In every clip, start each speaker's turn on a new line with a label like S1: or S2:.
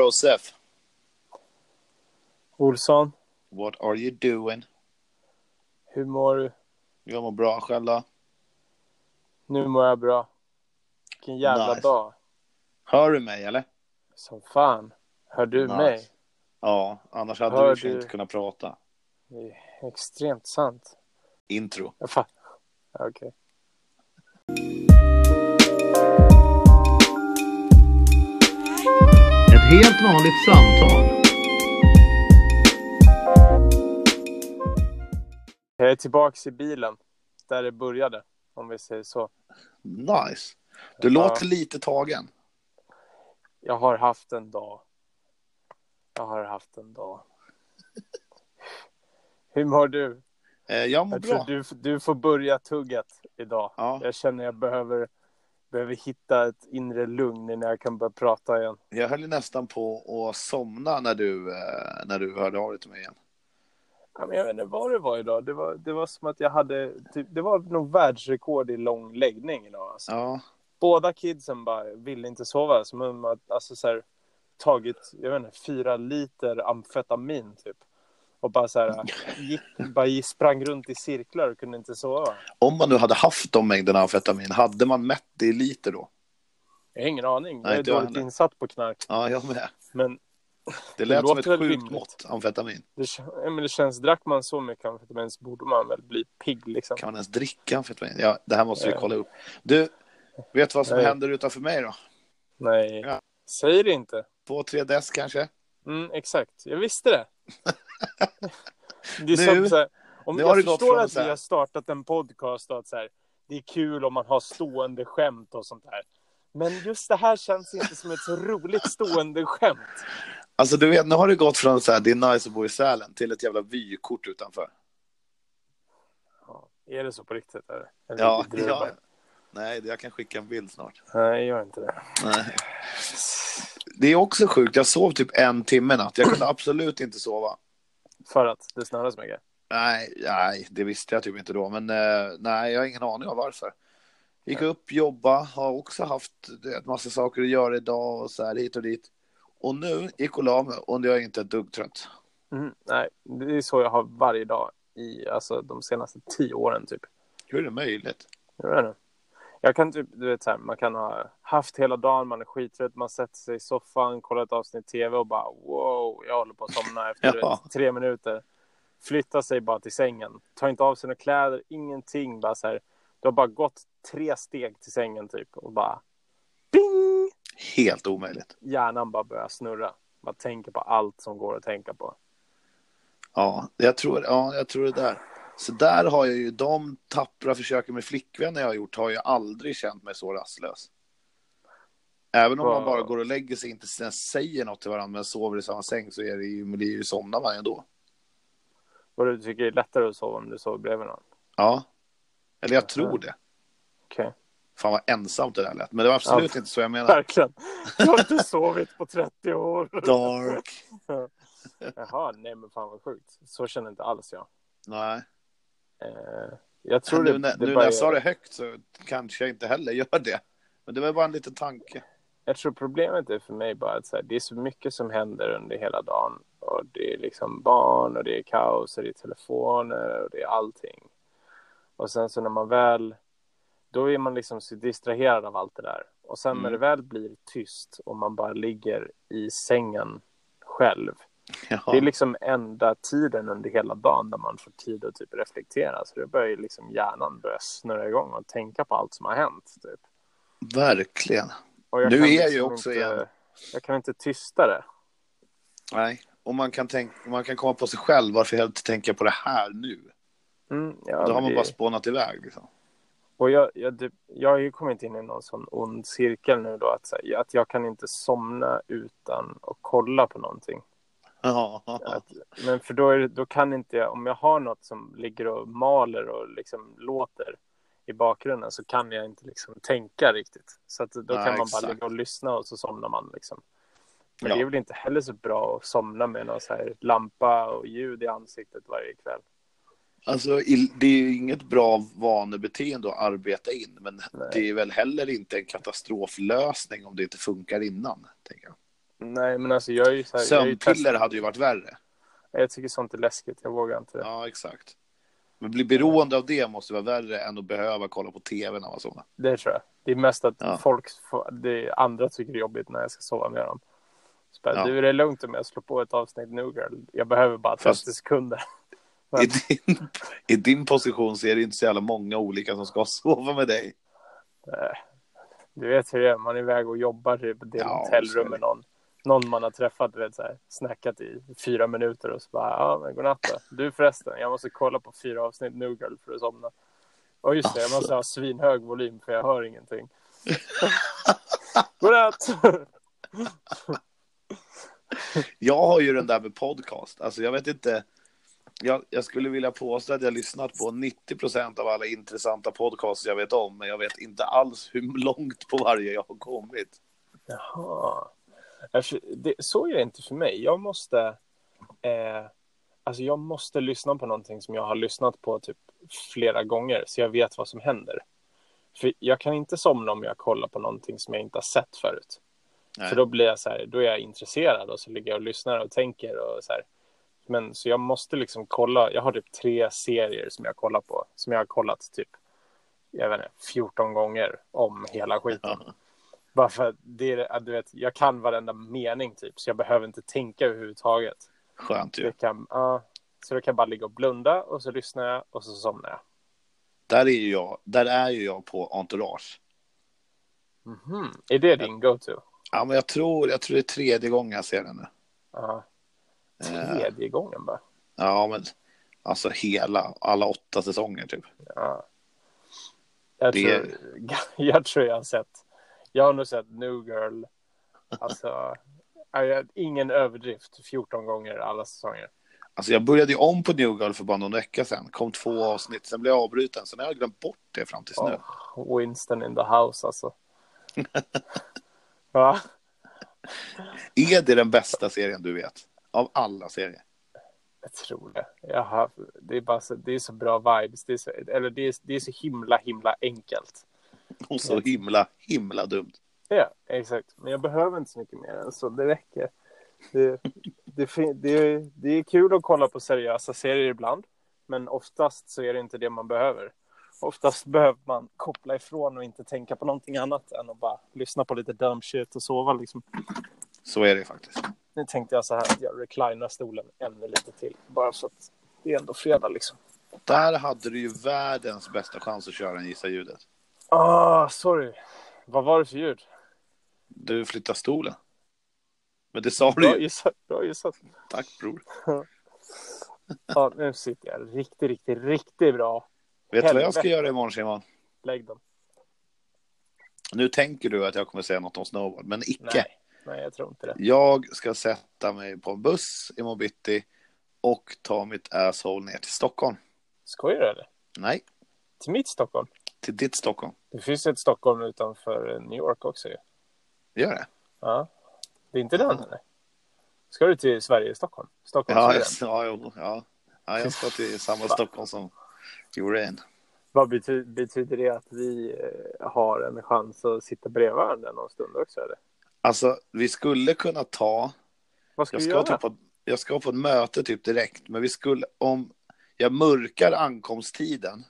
S1: Brosef,
S2: Olsson,
S1: what are you doing?
S2: hur mår du?
S1: Jag mår bra själv då.
S2: Nu mår jag bra. Vilken jävla
S1: Nice.
S2: dag.
S1: Hör du mig eller?
S2: Som fan. Hör du
S1: Nice.
S2: mig?
S1: Ja, annars hade
S2: Hör
S1: du, i och för sig
S2: du?
S1: inte kunnat prata.
S2: Det är extremt sant.
S1: Intro.
S2: Jag fa- Okej.
S3: Ett helt vanligt samtal.
S2: Jag är tillbaka i bilen. Där det började. Om vi säger så.
S1: Nice. Du
S2: Ja.
S1: låter lite tagen.
S2: Jag har haft en dag. Jag har haft en dag. Hur mår du?
S1: Eh, Jag mår
S2: Jag
S1: bra.
S2: tror du, du får börja tugget idag.
S1: Ja,
S2: Jag känner jag behöver, behöver hitta ett inre lugn innan jag kan börja prata igen.
S1: jag höll ju nästan på att somna när du, eh, när du hörde av dig till mig igen.
S2: Ja, men jag vet inte vad det var idag. Det var, det var som att jag hade... Typ, det var nog världsrekord i lång läggning idag. Alltså.
S1: Ja,
S2: Båda kidsen bara ville inte sova. Som om att alltså, så här, tagit jag vet inte, fyra liter amfetamin typ. Och bara så här, gick, bara gick- sprang runt i cirklar och kunde inte sova.
S1: om man nu hade haft de mängderna amfetamin, hade man mätt det i liter då?
S2: Jag har ingen aning. Jag
S1: Nej,
S2: är
S1: inte jag
S2: dåligt
S1: heller.
S2: insatt på knark.
S1: Ja, jag med.
S2: Men
S1: Det lät som
S2: låter
S1: ett
S2: väl
S1: sjukt
S2: rimligt.
S1: mått amfetamin.
S2: det, kän- ja, men det känns, drack man så mycket amfetamin så borde man väl bli pigg liksom.
S1: Kan man ens dricka amfetamin? Ja, det här måste vi
S2: Ja.
S1: kolla upp. Du, vet du vad som
S2: Nej.
S1: händer utanför mig då?
S2: Nej,
S1: Ja.
S2: säg det inte.
S1: Två, tre dess kanske?
S2: Mm, exakt, jag visste det. det
S1: Nu-
S2: är som så här, om
S1: nu har
S2: jag
S1: det gått
S2: förstår
S1: från
S2: att
S1: så här-
S2: vi har startat en podcast och att så här, det är kul om man har stående skämt och sånt där. Men just det här känns inte som ett så roligt stående skämt.
S1: Alltså du vet, nu har det gått från så här, det är nice att bo i Sälen till ett jävla vykort utanför.
S2: Ja, är det så på riktigt? Eller? Eller
S1: Ja,
S2: driver jag
S1: ja.
S2: bara?
S1: Nej, jag kan skicka en bild snart.
S2: Nej, gör inte det.
S1: Nej. Det är också sjukt, jag sov typ en timme i natt. Jag kunde absolut inte sova.
S2: För att det snöar så mycket.
S1: Nej, nej, det visste jag typ inte då. Men eh, nej, jag har ingen aning om varför. Gick upp, jobba, har också haft du vet, massa saker att göra idag och så här hit och dit. Och nu gick och la mig och jag är inte ett dugg trött.
S2: Mm, nej, det är så jag har varje dag i alltså, de senaste tio åren typ.
S1: Hur är det möjligt?
S2: Jag vet inte. Jag kan typ, du vet så här, man kan ha haft hela dagen, man är skittrött, man sätter sig i soffan, kollar ett avsnitt tv och bara wow, jag håller på att somna efter du
S1: Ja.
S2: vet, tre minuter. Flyttar sig bara till sängen, tar inte av sina kläder, ingenting, bara så här. Du har bara gått tre steg till sängen typ och bara bing!
S1: Helt omöjligt.
S2: Hjärnan bara börjar snurra. Man tänker på allt som går att tänka på.
S1: Ja, jag tror, ja, jag tror det där. Så där har jag ju, de tappra försöken med flickvänner jag har gjort har jag aldrig känt mig så rastlös. Även om man
S2: Wow.
S1: bara går och lägger sig, inte ens säger något till varandra, men sover i samma säng så är det ju, men det är ju somnar man ändå.
S2: Vad du tycker är lättare att sova om du sover bredvid någon.
S1: Ja. Eller jag tror det.
S2: Okej,
S1: Fan vad ensamt det där lät. Men det var absolut inte så jag menar.
S2: verkligen. Jag har inte sovit på 30 år.
S1: Dark.
S2: Jaha, nej men fan vad sjukt. Så känner inte alls jag.
S1: Nej.
S2: Eh, jag tror
S1: Tror nu
S2: det,
S1: när, nu
S2: det bara
S1: när jag
S2: är-
S1: sa det högt så kanske jag inte heller gör det. Men det var bara en liten tanke.
S2: jag tror problemet är för mig bara att så här, det är så mycket som händer under hela dagen. Och det är liksom barn och det är kaos och det är telefoner och det är allting. Och sen så när man väl, då är man liksom så distraherad av allt det där. Och sen när
S1: Mm.
S2: det väl blir tyst och man bara ligger i sängen själv. Det är
S1: Jaha.
S2: liksom enda tiden under hela dagen där man får tid att typ reflektera. Så det börjar ju liksom hjärnan börja snurra igång och tänka på allt som har hänt. Typ.
S1: Verkligen.
S2: Och
S1: Nu
S2: kan
S1: är jag
S2: liksom
S1: ju också
S2: inte,
S1: igen.
S2: Jag kan inte tysta det.
S1: Nej. Och man kan, tänka, man kan komma på sig själv, varför jag inte tänker på det här nu?
S2: Mm, ja,
S1: Då har
S2: men
S1: man
S2: det-
S1: bara spånat iväg. Liksom.
S2: Och jag, jag, typ- jag har ju kommit in i någon sån ond cirkel nu då. Att, så här, att jag kan inte somna utan att kolla på någonting.
S1: Ja.
S2: Att, men för då, är, det- då kan inte jag, om jag har något som ligger och maler och liksom låter i bakgrunden så kan jag inte liksom tänka riktigt. Så att då
S1: Nej,
S2: kan man
S1: exakt.
S2: bara ligga och lyssna och så somnar man liksom. Men det är
S1: ja.
S2: väl inte heller så bra att somna med någon så här lampa och ljud i ansiktet varje kväll.
S1: Alltså, i- det är ju inget bra vanebeteende att arbeta in, men
S2: Nej.
S1: det är väl heller inte en katastroflösning om det inte funkar innan. Tänker jag.
S2: Nej, men alltså jag är ju så här, jag, är ju
S1: Sömnpiller
S2: test-
S1: hade ju varit värre.
S2: jag tycker sånt är läskigt. Jag vågar inte.
S1: Ja, exakt. Men bli beroende av det måste vara värre än att behöva kolla på tv när man somnar.
S2: Det tror jag. Det är mest att
S1: Ja.
S2: folk, får- det är andra tycker det är jobbigt när jag ska sova med dem. Så bara,
S1: Ja.
S2: Du, det är lugnt om jag slår på ett avsnitt nu, girl. Jag behöver bara 30
S1: Fast-
S2: sekunder.
S1: I din, I din position så är det inte så jävla många olika som ska sova med dig.
S2: Du vet hur det är, man är iväg och jobbar typ i ett
S1: Ja, så är
S2: hotellrum
S1: det.
S2: med någon. Någon man har träffat, du vet så här, snackat i fyra minuter och så bara, ja men godnatt då. Du förresten, jag måste kolla på fyra avsnitt nu, girl, för att somna. Och just det, jag
S1: Alltså.
S2: måste ha svinhög volym för jag hör ingenting. godnatt!
S1: Jag har ju den där med podcast. Alltså jag vet inte. Jag, jag skulle vilja påstå att jag har lyssnat på 90 procent av alla intressanta podcasts jag vet om. Men jag vet inte alls hur långt på varje jag har kommit.
S2: Jaha. Alltså, det, så är det inte för mig. Jag måste, eh, alltså jag måste lyssna på någonting som jag har lyssnat på typ flera gånger så jag vet vad som händer. För jag kan inte somna om jag kollar på någonting som jag inte har sett förut.
S1: Nej.
S2: För då blir jag så här, då är jag intresserad och så ligger jag och lyssnar och tänker och så här. Men så jag måste liksom kolla, jag har typ tre serier som jag kollar på, som jag har kollat typ, jag vet inte, 14 gånger om hela skiten. Bara för att det är, att du vet, jag kan varenda mening typ, så jag behöver inte tänka överhuvudtaget.
S1: Skönt ju.
S2: Jag kan, ja, så då kan jag bara ligga och blunda och så lyssnar jag och så somnar jag.
S1: Där är ju jag, där är ju jag på entourage.
S2: Mhm. Är det din go-to?
S1: Ja, men jag tror, jag tror det är tredje gången jag ser den nu.
S2: Ja.
S1: Eh,
S2: Tredje gången bara.
S1: ja, men alltså hela, alla åtta säsonger typ.
S2: Ja. Jag,
S1: Det-
S2: tror, jag tror jag har sett, jag har nog sett New Girl, alltså, ja, jag- ingen överdrift, 14 gånger alla säsonger.
S1: Alltså jag började ju om på New Girl för bara någon vecka sedan. Kom två avsnitt, sen blev jag avbruten. Sen har jag glömt bort det fram tills nu.
S2: Åh, Winston in the house alltså. Va?
S1: Är det den bästa serien du vet? Av alla serier?
S2: Jag tror det. Jag har, det, är bara så, det är så bra vibes. Det är så, eller det är, det är så himla, himla enkelt.
S1: Och så himla, himla dumt.
S2: Ja, exakt. Men jag behöver inte så mycket mer än så. Det räcker. Det, det, fin- det, är- det är kul att kolla på seriösa serier ibland. Men oftast så är det inte det man behöver. Oftast behöver man koppla ifrån och inte tänka på någonting annat än att bara lyssna på lite dumb shit och sova. Liksom.
S1: Så är det faktiskt.
S2: Nu tänkte jag så här att jag reclinar stolen ännu lite till. Bara för att det är ändå fredag liksom.
S1: Där hade du ju världens bästa chans att köra en Gissa ljudet.
S2: Ah, sorry. Vad var det för ljud?
S1: Du flyttar stolen. Men det sa
S2: Bra
S1: du ju.
S2: gissat. Bra gissat.
S1: Tack bror.
S2: Ja, nu sitter jag riktigt, riktigt, riktigt bra.
S1: Vet du vad jag
S2: Helvete.
S1: ska göra imorgon Simon?
S2: Lägg dem.
S1: Nu tänker du att jag kommer säga något om snowboard, men icke.
S2: Nej, nej, jag tror inte det.
S1: Jag ska sätta mig på en buss imorgon bitti och ta mitt asshole ner till Stockholm.
S2: Skojar du eller?
S1: Nej,
S2: Till mitt Stockholm?
S1: till ditt Stockholm.
S2: Det finns ju ett Stockholm utanför eh, New York också ju.
S1: Gör det?
S2: Ja. Det är inte den eller? Ska du till Sverige, Stockholm? Stockholm,
S1: Ja,
S2: Sweden?
S1: jag, ja, jo, ja. ja, jag ska till samma Stockholm som Jorén.
S2: Vad bety- betyder det att vi eh, har en chans att sitta bredvid varandra någon stund också eller?
S1: Alltså, vi skulle kunna ta...
S2: Vad ska
S1: Jag
S2: vi
S1: ska,
S2: göra?
S1: typ på, jag ska på ett möte typ direkt, men vi skulle... Om jag mörkar ankomsttiden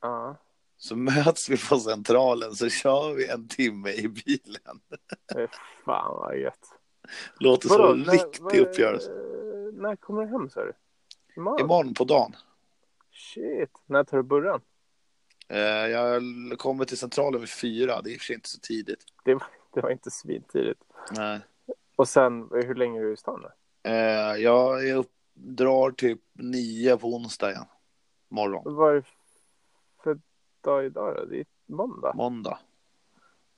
S2: Ja,
S1: så möts vi på Centralen så kör vi en timme i bilen.
S2: det är fan vad gött.
S1: Låter som en
S2: när- vad-
S1: riktig uppgörelse.
S2: eh, När kommer du hem sa du? Imorgon?
S1: Imorgon på dagen.
S2: Shit, när tar du burran?
S1: Eh, Jag kommer till Centralen vid fyra, det är i och för sig inte så tidigt.
S2: Det var, det var inte svintidigt.
S1: Nej.
S2: Och sen, hur länge är du i stan då?
S1: Eh, Jag är upp, drar typ nio på onsdag igen. Morgon.
S2: Vad är det för dag idag då? Det är måndag.
S1: Måndag.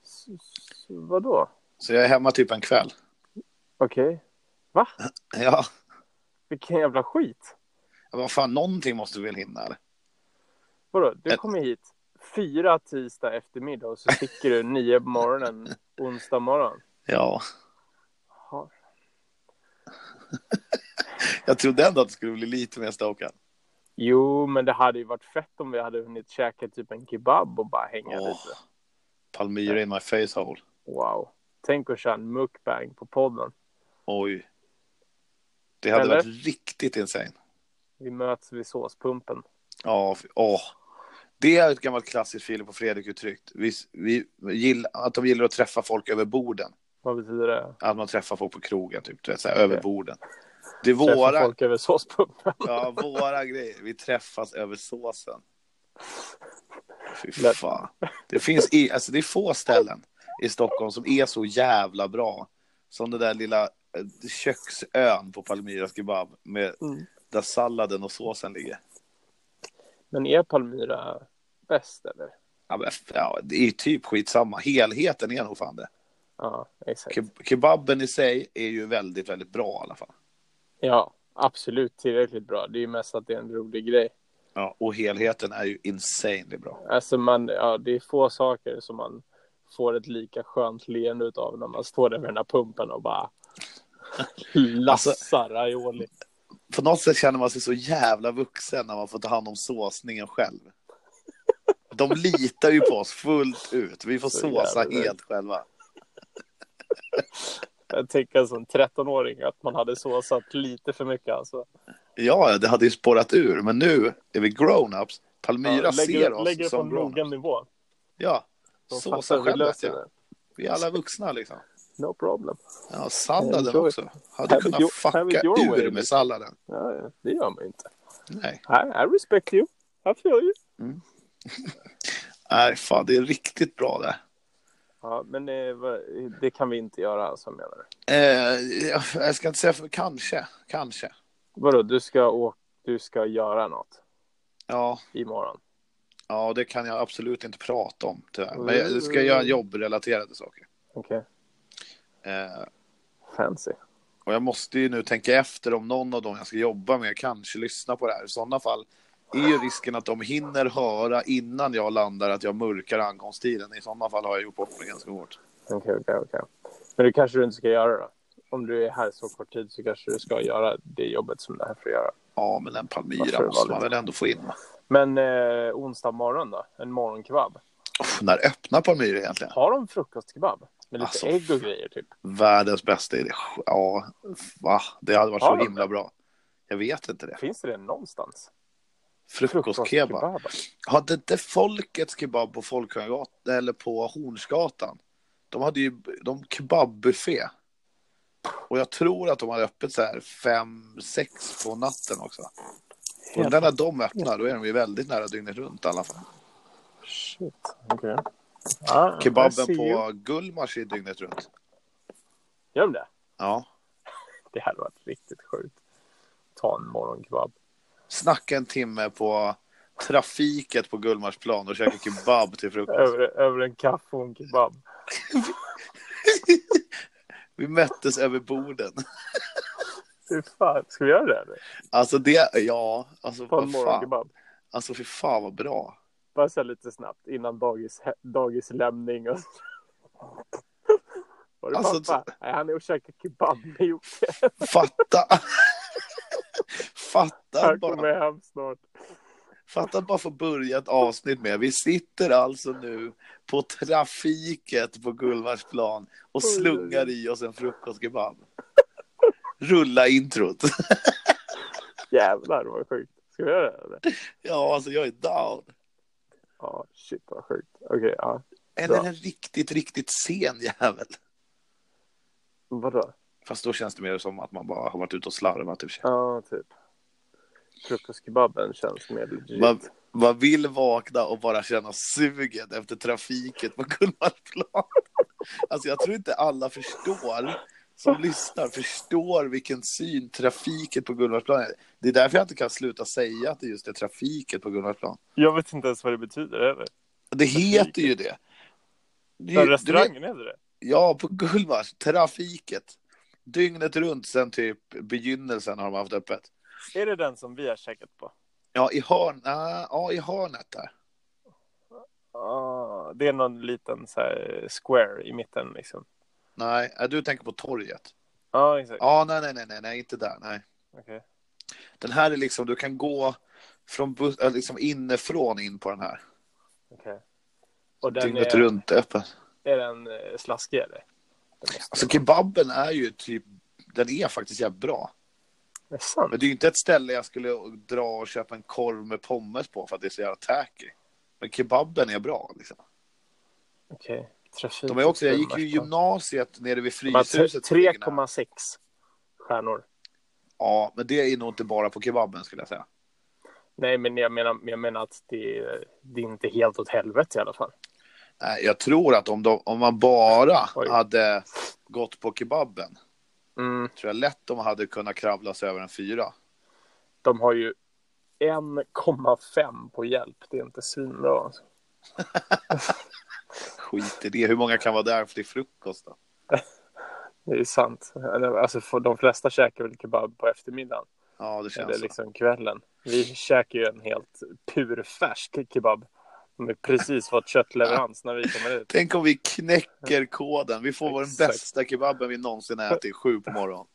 S2: S- s- vadå?
S1: Så jag är hemma typ en kväll.
S2: Okej. Va?
S1: Ja,
S2: Vilken jävla skit.
S1: vad fan, någonting måste vi väl hinna? Eller?
S2: Vadå? Du
S1: Ett-
S2: kommer hit fyra tisdag eftermiddag och så sticker du nio på morgonen onsdag morgon.
S1: Ja,
S2: Ja,
S1: jag trodde ändå att det skulle bli lite mer stalkad.
S2: Jo, men det hade ju varit fett om vi hade hunnit käka typ en kebab och bara hänga
S1: Åh.
S2: lite.
S1: Palmyra in my face hole.
S2: Wow. Tänk att köra en mukbang på podden.
S1: Oj. Det hade
S2: Eller?
S1: varit riktigt insane.
S2: Vi möts vid såspumpen.
S1: Ja, fy- åh. Det är ett gammalt klassiskt Filip och Fredrik-uttryck. Vi, vi gillar, att de gillar att träffa folk över borden.
S2: Vad betyder det?
S1: Att man träffar folk på krogen, typ. Du vet, så här, över
S2: Okej.
S1: borden. Det är
S2: Träffa
S1: våra,
S2: folk över såspumpen.
S1: ja, våra grejer. Vi träffas över såsen. Fy
S2: Lätt.
S1: fan. Det finns i, alltså det är få ställen i Stockholm som är så jävla bra. Som den där lilla eh, köksön på Palmyras kebab. Med,
S2: Mm.
S1: Där salladen och såsen ligger.
S2: Men är Palmyra bäst eller?
S1: Ja, men, ja, det är ju typ skitsamma. Helheten är nog fan det.
S2: Ja, exakt.
S1: Ke- kebaben i sig är ju väldigt, väldigt bra i alla fall.
S2: Ja, absolut tillräckligt bra. Det är ju mest att det är en rolig grej.
S1: Ja, och helheten är ju insanely bra.
S2: Alltså man, ja, det är få saker som man får ett lika skönt leende utav när man står där med den här pumpen och bara
S1: Alltså-
S2: lassar aioli.
S1: På något sätt känner man sig så jävla vuxen när man får ta hand om såsningen själv. De litar ju på oss fullt ut. Vi får
S2: Så
S1: såsa
S2: jävla
S1: helt själva.
S2: Jag tänker som 13-åring att man hade såsat lite för mycket alltså.
S1: Ja, det hade ju spårat ur, men nu är vi grown-ups. Palmyra
S2: Ja,
S1: ser
S2: lägger
S1: oss
S2: lägger det på
S1: som
S2: en mogen
S1: grown-ups.
S2: nivå.
S1: Ja,
S2: De
S1: såsa
S2: fattar, vi
S1: själva.
S2: löser det.
S1: Vi är alla vuxna liksom.
S2: No problem.
S1: Ja, salladen
S2: Enjoy.
S1: också. Hade
S2: Eh, Have it
S1: kunnat
S2: your- have
S1: fucka
S2: it your way,
S1: ur
S2: liksom.
S1: med salladen.
S2: Ja, ja, det gör man ju inte.
S1: Nej.
S2: I, I respect you. I feel you.
S1: Nej, fan, det är riktigt bra det.
S2: Ja, men det, det kan vi inte göra alltså menar du?
S1: Eh, jag- jag ska inte säga för kanske, kanske.
S2: Vadå, du ska, åka, du ska göra något
S1: Ja,
S2: imorgon?
S1: ja, det kan jag absolut inte prata om tyvärr. Men jag ska göra jobbrelaterade saker.
S2: Okej,
S1: Eh,
S2: fancy.
S1: och jag måste ju nu tänka efter om någon av dem jag ska jobba med kanske lyssnar på det här. I sådana fall är ju risken att de hinner höra innan jag landar att jag mörkar ankomsttiden. I sådana fall har jag gjort bort mig ganska hårt.
S2: Okej, okej, okej. Men det kanske du inte ska göra då? Om du är här så kort tid så kanske du ska göra det jobbet som du är här för att göra.
S1: Ja, men en Palmyra
S2: Varför
S1: måste man
S2: var det-
S1: väl ändå få in? va?
S2: Men eh, onsdag morgon då? En morgonkebab?
S1: Uff, när öppnar Palmyra egentligen?
S2: Har de frukostkebab? Med lite
S1: Alltså,
S2: ägg och grejer typ?
S1: Världens bästa idé. Ja, va? Det hade varit
S2: Har
S1: så
S2: de
S1: himla bra. Jag vet inte det.
S2: Finns det det någonstans?
S1: Frukostkebab. Hade inte Folkets kebab på Folkungagatan eller på Hornsgatan? De hade ju de kebabbuffé. Och jag tror att de hade öppet så här fem, sex på natten också. Undrar när de öppnar, då är de ju väldigt nära dygnet runt i alla fall.
S2: Shit, okej. Ah, I
S1: Kebaben
S2: see you.
S1: på Gullmars är dygnet runt.
S2: Gör de det?
S1: Ja.
S2: Det hade varit riktigt sjukt. Ta en morgonkebab.
S1: Snacka en timme på trafiket på Gullmarsplan och käka kebab till frukost.
S2: Över, över en kaffe och en kebab.
S1: Vi möttes över borden.
S2: Fy fan, ska vi göra det? Eller?
S1: Alltså det, ja, alltså
S2: Ta en
S1: vad fan.
S2: morgonkebab.
S1: Alltså för fan vad bra.
S2: Bara så här lite snabbt innan dagis, dagislämning. Och... så. Var det
S1: Alltså,
S2: pappa? Nej, han är och käkar kebab med Jocke.
S1: Fatta. Fatta
S2: Han
S1: bara,
S2: kommer hem snart.
S1: fatta bara få börja ett avsnitt med. Vi sitter alltså nu på trafiket på Gullmarsplan och
S2: oj, oj.
S1: slungar i oss en frukostkebab. Rulla introt.
S2: Jävlar vad sjukt. Ska vi göra det? Eller?
S1: Ja, alltså jag är down.
S2: Ja, shit vad sjukt. Okej, ja.
S1: Eller
S2: Bra.
S1: en riktigt, riktigt sen jävel.
S2: Vadå?
S1: Fast då känns det mer som att man bara har varit ute och slarvat. Typ.
S2: Ja, typ. Frukostkebaben känns mer legit.
S1: Man, man vill vakna och bara känna suget efter trafiket på Gullmarsplan. Alltså jag tror inte alla förstår, som lyssnar, förstår vilken syn trafiket på Gullmarsplan är. Det är därför jag inte kan sluta säga att det just är trafiket på Gullmarsplan.
S2: Jag vet inte ens vad det betyder heller.
S1: Det heter ju det. det är
S2: Den
S1: ju-
S2: restaurangen heter det.
S1: Ja, på Gullmars. Trafiket. Dygnet runt sen typ begynnelsen har de haft öppet.
S2: Är det den som vi har käkat på?
S1: Ja, i, hörn, ah, ja, i hörnet där.
S2: Ah, det är någon liten så här, square i mitten liksom.
S1: Nej, äh, du tänker på torget.
S2: Ja, exakt.
S1: Ja, nej, nej, nej, nej, nej, inte där. Nej.
S2: Okej.
S1: Den här är liksom, du kan gå från bus, äh, liksom inifrån in på den här.
S2: okej. Och den
S1: Dygnet
S2: är,
S1: runt öppen.
S2: är den eh, slaskig eller? Den måste-
S1: Alltså kebaben är ju typ den är faktiskt jävligt bra.
S2: Det är sant.
S1: Men det är ju inte ett ställe jag skulle dra och köpa en korv med pommes på för att det är så jävla tacky. Men kebaben är bra. Liksom.
S2: Okej. Trafik-
S1: De är också, jag gick ju gymnasiet nere vid
S2: Bara
S1: Fryshuset.
S2: 3,6 stjärnor.
S1: Ja, men det är nog inte bara på kebaben skulle jag säga.
S2: Nej, men jag menar, jag menar att det, det är inte helt åt helvete i alla fall.
S1: Nej, jag tror att om, de, om man bara
S2: Oj.
S1: hade gått på kebaben,
S2: Mm,
S1: tror jag lätt de hade kunnat kravla sig över en fyra.
S2: de har ju 1,5 på hjälp. Det är inte svinbra. Alltså.
S1: Skit i det. Hur många kan vara där till frukost då?
S2: Det är sant. Alltså, för de flesta käkar väl kebab på eftermiddagen.
S1: Ja, det känns
S2: eller
S1: så.
S2: liksom kvällen. Vi käkar ju en helt purfärsk kebab. De har precis fått köttleverans när vi kommer ut.
S1: Tänk om vi knäcker koden. Vi får vår den
S2: Exakt.
S1: bästa kebaben vi någonsin ätit sju på morgonen.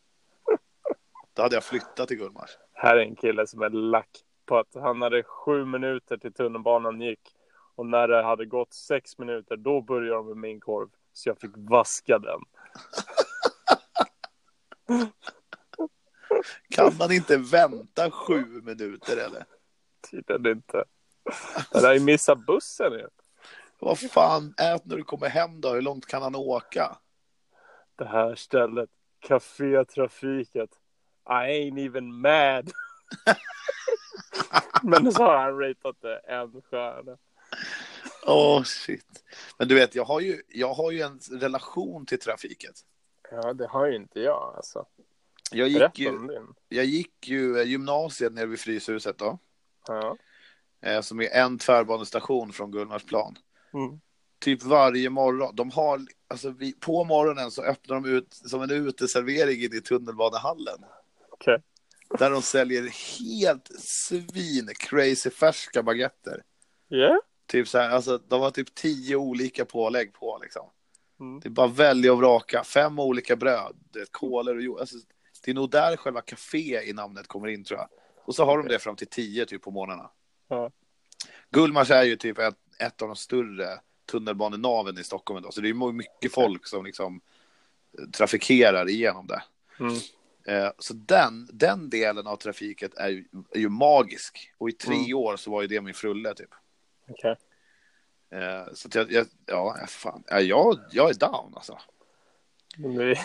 S1: Då hade jag flyttat till Gullmars.
S2: Här är en kille som är lack på att han hade sju minuter till tunnelbanan gick. Och när det hade gått sex minuter, då började de med min korv. Så jag fick vaska den.
S1: Kan man inte vänta sju minuter eller?
S2: Tydligen inte. Jag hade ju missat bussen ju.
S1: Vad fan, ät när du kommer hem då. Hur långt kan han åka?
S2: Det här stället, Café Trafiket. I ain't even mad. Men så har han ratat det en stjärna.
S1: Åh shit. Men du vet, jag har, ju, jag har ju en relation till trafiket.
S2: Ja, det har ju inte jag alltså.
S1: Jag gick,
S2: Rätt
S1: ju,
S2: om din.
S1: jag gick ju eh, gymnasiet nere vid Fryshuset då.
S2: Ja.
S1: Eh, som är en tvärbanestation från Gullmarsplan.
S2: Mm.
S1: Typ varje morgon. De har, alltså vi, på morgonen så öppnar de ut som en uteservering in i tunnelbanehallen.
S2: Okej.
S1: Där de säljer helt svin crazy färska baguetter.
S2: Ja.
S1: Typ så här, alltså, de har typ tio olika pålägg på. Liksom.
S2: Mm.
S1: Det är bara välja och vraka. Fem olika bröd, det är kolor och jo- alltså, Det är nog där själva café i namnet kommer in tror jag. Och så har de det fram till tio typ på morgnarna.
S2: Ja.
S1: Gullmars är ju typ ett, ett av de större tunnelbanenaven i Stockholm idag. Så det är ju mycket folk som liksom trafikerar igenom det.
S2: Mm.
S1: Eh, Så den, den delen av trafiket är ju, är ju magisk. Och i tre
S2: Mm.
S1: år så var ju det min frulle typ.
S2: Okej.
S1: Eh, Så att jag, jag, ja, fan. Ja, jag, jag är down alltså.
S2: Men vi-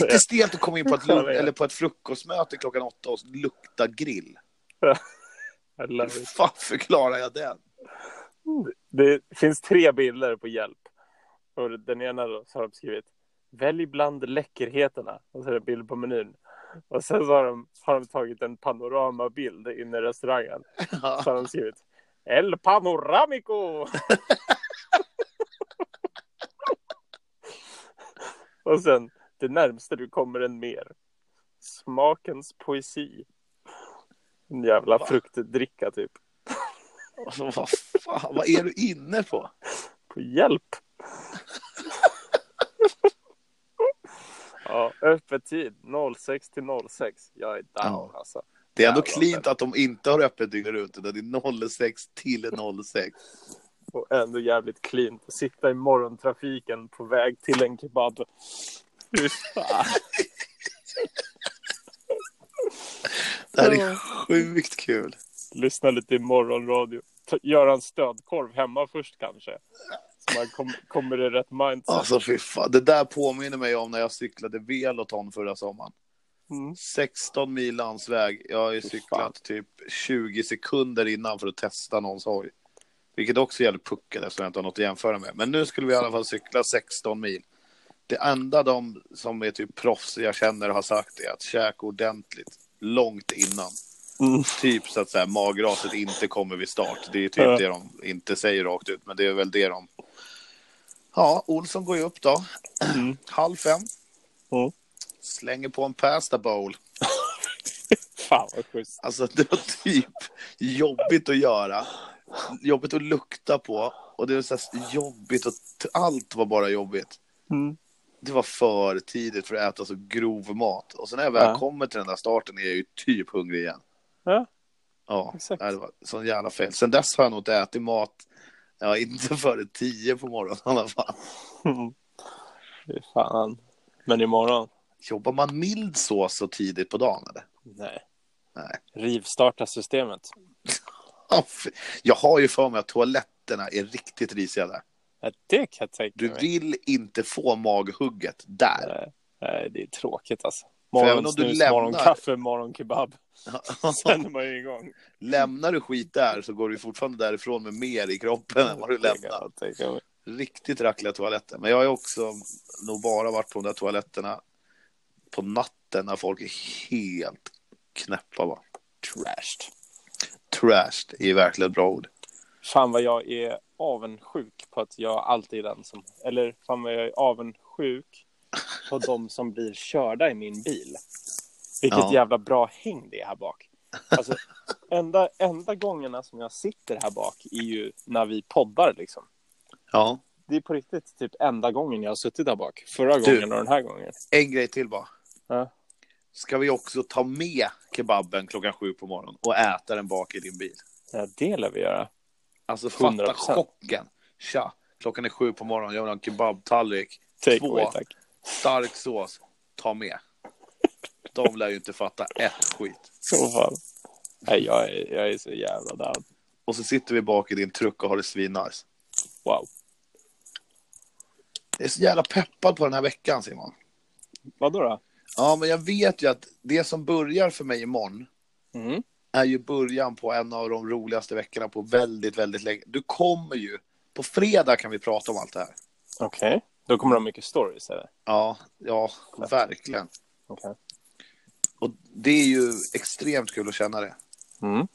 S1: Lite stelt att komma in på ett,
S2: Ja,
S1: lunch,
S2: det är.
S1: eller på ett frukostmöte klockan åtta och lukta grill.
S2: I
S1: Hur
S2: love it.
S1: fan förklarar jag den?
S2: Det finns tre bilder på hjälp. Och den ena då, så har de skrivit Välj bland läckerheterna. Och så är det en bild på menyn. Och sen så har de, har de tagit en panoramabild inne i restaurangen. Så har de skrivit El Panoramico! Och sen det närmaste du kommer en mer. Smakens poesi. En jävla
S1: Va?
S2: fruktdricka typ.
S1: Alltså, vad fan, vad är du inne på?
S2: på hjälp. ja, öppettid 06 till 06. Jag är down
S1: Ja.
S2: alltså.
S1: Det är ändå
S2: Jävlar.
S1: cleant att de inte har öppet dygnet runt, utan det är 06 till 06.
S2: Och ändå jävligt clean. Att sitta i morgontrafiken på väg till en kebab. Fy fan.
S1: Det här är sjukt kul.
S2: Lyssna lite i morgonradio. Ta- Göra en stödkorv hemma först kanske. Så man kom, kommer i rätt mindset.
S1: Alltså fy fan, det där påminner mig om när jag cyklade Veloton förra sommaren.
S2: Mm.
S1: 16 mil landsväg. Jag har ju
S2: Fy fan.
S1: cyklat typ 20 sekunder innan för att testa någons hoj. Vilket också gäller pucken eftersom jag inte har något att jämföra med. Men nu skulle vi i alla fall cykla 16 mil. Det enda de som är typ proffs jag känner har sagt är att käka ordentligt långt innan.
S2: Mm.
S1: Typ så att så här, magraset inte kommer vid start. Det är
S2: Ja.
S1: typ det de inte säger rakt ut, men det är väl det de... Ja, Olsson går ju upp då.
S2: Mm.
S1: Halv fem.
S2: Mm.
S1: Slänger på en pasta bowl.
S2: Fan vad schysst.
S1: Alltså det var typ jobbigt att göra, jobbigt att lukta på och det var så här jobbigt och allt var bara jobbigt.
S2: Mm.
S1: Det var för tidigt för att äta så grov mat och sen när jag väl
S2: Ja.
S1: kommer till den där starten är jag ju typ hungrig igen.
S2: Ja.
S1: Ja,
S2: Exakt.
S1: nej, det var sån jävla fel. Sen dess har jag nog inte ätit mat, ja inte före tio på morgonen i alla fall.
S2: Mm. Fy fan. Men imorgon.
S1: Jobbar man mild sås så tidigt på dagen? Eller?
S2: Nej.
S1: Nej.
S2: Rivstarta systemet.
S1: Ja, fy- Jag har ju för mig att toaletterna är riktigt risiga där.
S2: Ja, det kan jag tänka
S1: Du
S2: mig.
S1: vill inte få maghugget där.
S2: Nej, nej, det är tråkigt alltså.
S1: För även om du
S2: Morgonsnus,
S1: lämnar-
S2: morgonkaffe, morgonkebab. Sen är man ju igång.
S1: Lämnar du skit där så går du fortfarande därifrån med mer i kroppen än vad du
S2: Det kan
S1: lämnar.
S2: jag tänka mig.
S1: Riktigt rackliga toaletter. Men jag har ju också nog bara varit på de där toaletterna på natten när folk är helt knäppa. Va?
S2: Trashed.
S1: Trashed är verkligen ett bra ord.
S2: Fan vad jag är avundsjuk på att jag alltid är den som... Eller fan vad jag är avundsjuk på de som blir körda i min bil. Vilket
S1: Ja.
S2: jävla bra häng det är här bak. Alltså, enda, enda gångerna som jag sitter här bak är ju när vi poddar liksom.
S1: Ja.
S2: Det är på riktigt typ enda gången jag har suttit där bak. Förra
S1: Du.
S2: gången och den här gången.
S1: En grej till bara.
S2: Ja.
S1: Ska vi också ta med kebaben klockan sju på morgonen och äta den bak i din bil?
S2: Ja, det lär vi göra.
S1: Alltså fatta
S2: 100%.
S1: chocken. Tja, klockan är sju på morgonen. Jag vill ha en kebabtallrik.
S2: Take
S1: Två.
S2: away, tack.
S1: Stark sås. Ta med. De lär ju inte fatta ett skit.
S2: Så fan. Nej, jag är, jag är så jävla down.
S1: Och så sitter vi bak i din truck och har det svinnice.
S2: Wow.
S1: Jag är så jävla peppad på den här veckan, Simon.
S2: Vadå då?
S1: Ja, men jag vet ju att det som börjar för mig imorgon
S2: Mm.
S1: är ju början på en av de roligaste veckorna på väldigt, väldigt länge. Du kommer ju. På fredag kan vi prata om allt det här.
S2: Okej. Då kommer det mycket stories, eller?
S1: Ja, ja, verkligen.
S2: Okej.
S1: Och det är ju extremt kul att känna det.
S2: Mm.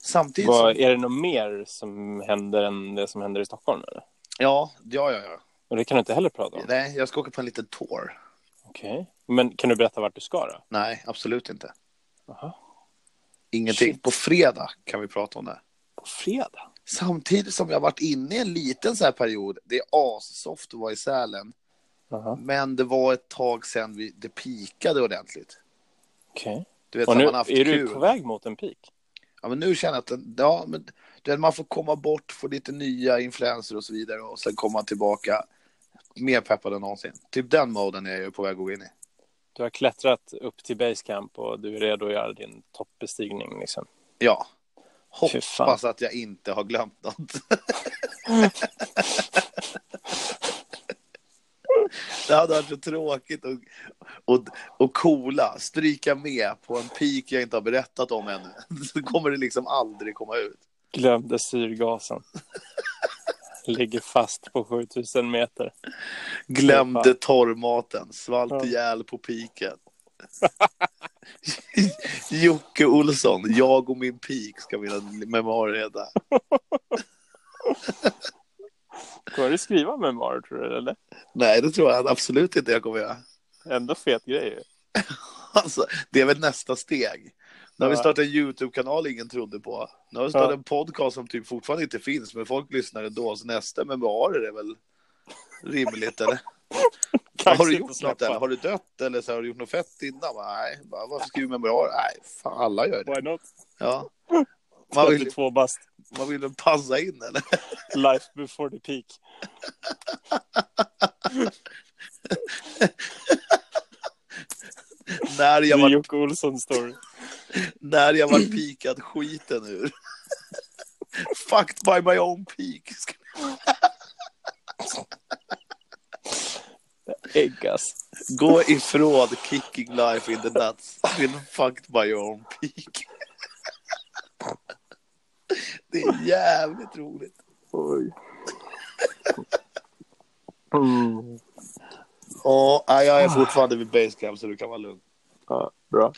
S1: Samtidigt
S2: Vad,
S1: som...
S2: är det något mer som händer än det som händer i Stockholm? Eller?
S1: Ja, ja, ja, ja.
S2: Och det kan du inte heller prata om?
S1: Nej, jag ska åka på en liten tour.
S2: Okej. Men kan du berätta vart du ska då?
S1: Nej, absolut inte.
S2: Aha.
S1: Ingenting.
S2: Shit.
S1: På fredag kan vi prata om det.
S2: På fredag?
S1: Samtidigt som jag har varit inne i en liten så här period. Det är assoft att vara i Sälen.
S2: Aha.
S1: Men det var ett tag sedan vi, det pikade ordentligt.
S2: Okej.
S1: Du vet,
S2: Och
S1: så
S2: nu
S1: man har haft
S2: är
S1: kul.
S2: du på väg mot en peak?
S1: Ja, men nu känner jag att den, ja, men, du vet, man får komma bort, få lite nya influenser och så vidare och sen komma tillbaka mer peppad än någonsin. Typ den moden är jag ju på väg att gå in i.
S2: Du har klättrat upp till basecamp och du är redo att göra din toppbestigning liksom.
S1: Ja.
S2: Fy fan.
S1: Hoppas att jag inte har glömt något. Det hade varit så tråkigt och, och, och coola. Stryka med på en peak jag inte har berättat om ännu. Så kommer det liksom aldrig komma ut.
S2: Glömde syrgasen. Ligger fast på 7000 meter.
S1: Glömde torrmaten.
S2: Ja.
S1: Svalt ihjäl på piken. Jocke Olsson, jag och min peak ska mina memoarer heta.
S2: Kommer du skriva memoarer tror du eller?
S1: Nej, det tror jag absolut inte jag kommer göra.
S2: Ändå fet grej ju.
S1: Alltså, det är väl nästa steg. Nu har vi
S2: Ja.
S1: startat en YouTube-kanal ingen trodde på. Nu har vi startat
S2: Ja.
S1: en podcast som typ fortfarande inte finns, men folk lyssnar ändå. Så nästa memoarer är väl rimligt, eller?
S2: Kanske
S1: har du
S2: inte
S1: gjort något
S2: släppa.
S1: eller? Har du dött eller så här, har du gjort något fett innan? Bara, Nej, Bara, varför skriver du memoarer? Nej, fan alla gör det.
S2: Why not?
S1: Ja. Man vill,
S2: 32 bast.
S1: man vill väl passa in eller?
S2: Life before the peak.
S1: när jag
S2: Det är
S1: var,
S2: Jocke Olsson story.
S1: när jag var pikad skiten ur. Fucked by my own peak.
S2: Äggas.
S1: Gå ifrån kicking life in the nuts till fucked by your own peak. Det är jävligt roligt.
S2: Oj. Mm.
S1: Ja, nej, jag är fortfarande vid basecamp så du kan vara lugn.
S2: Ja, bra.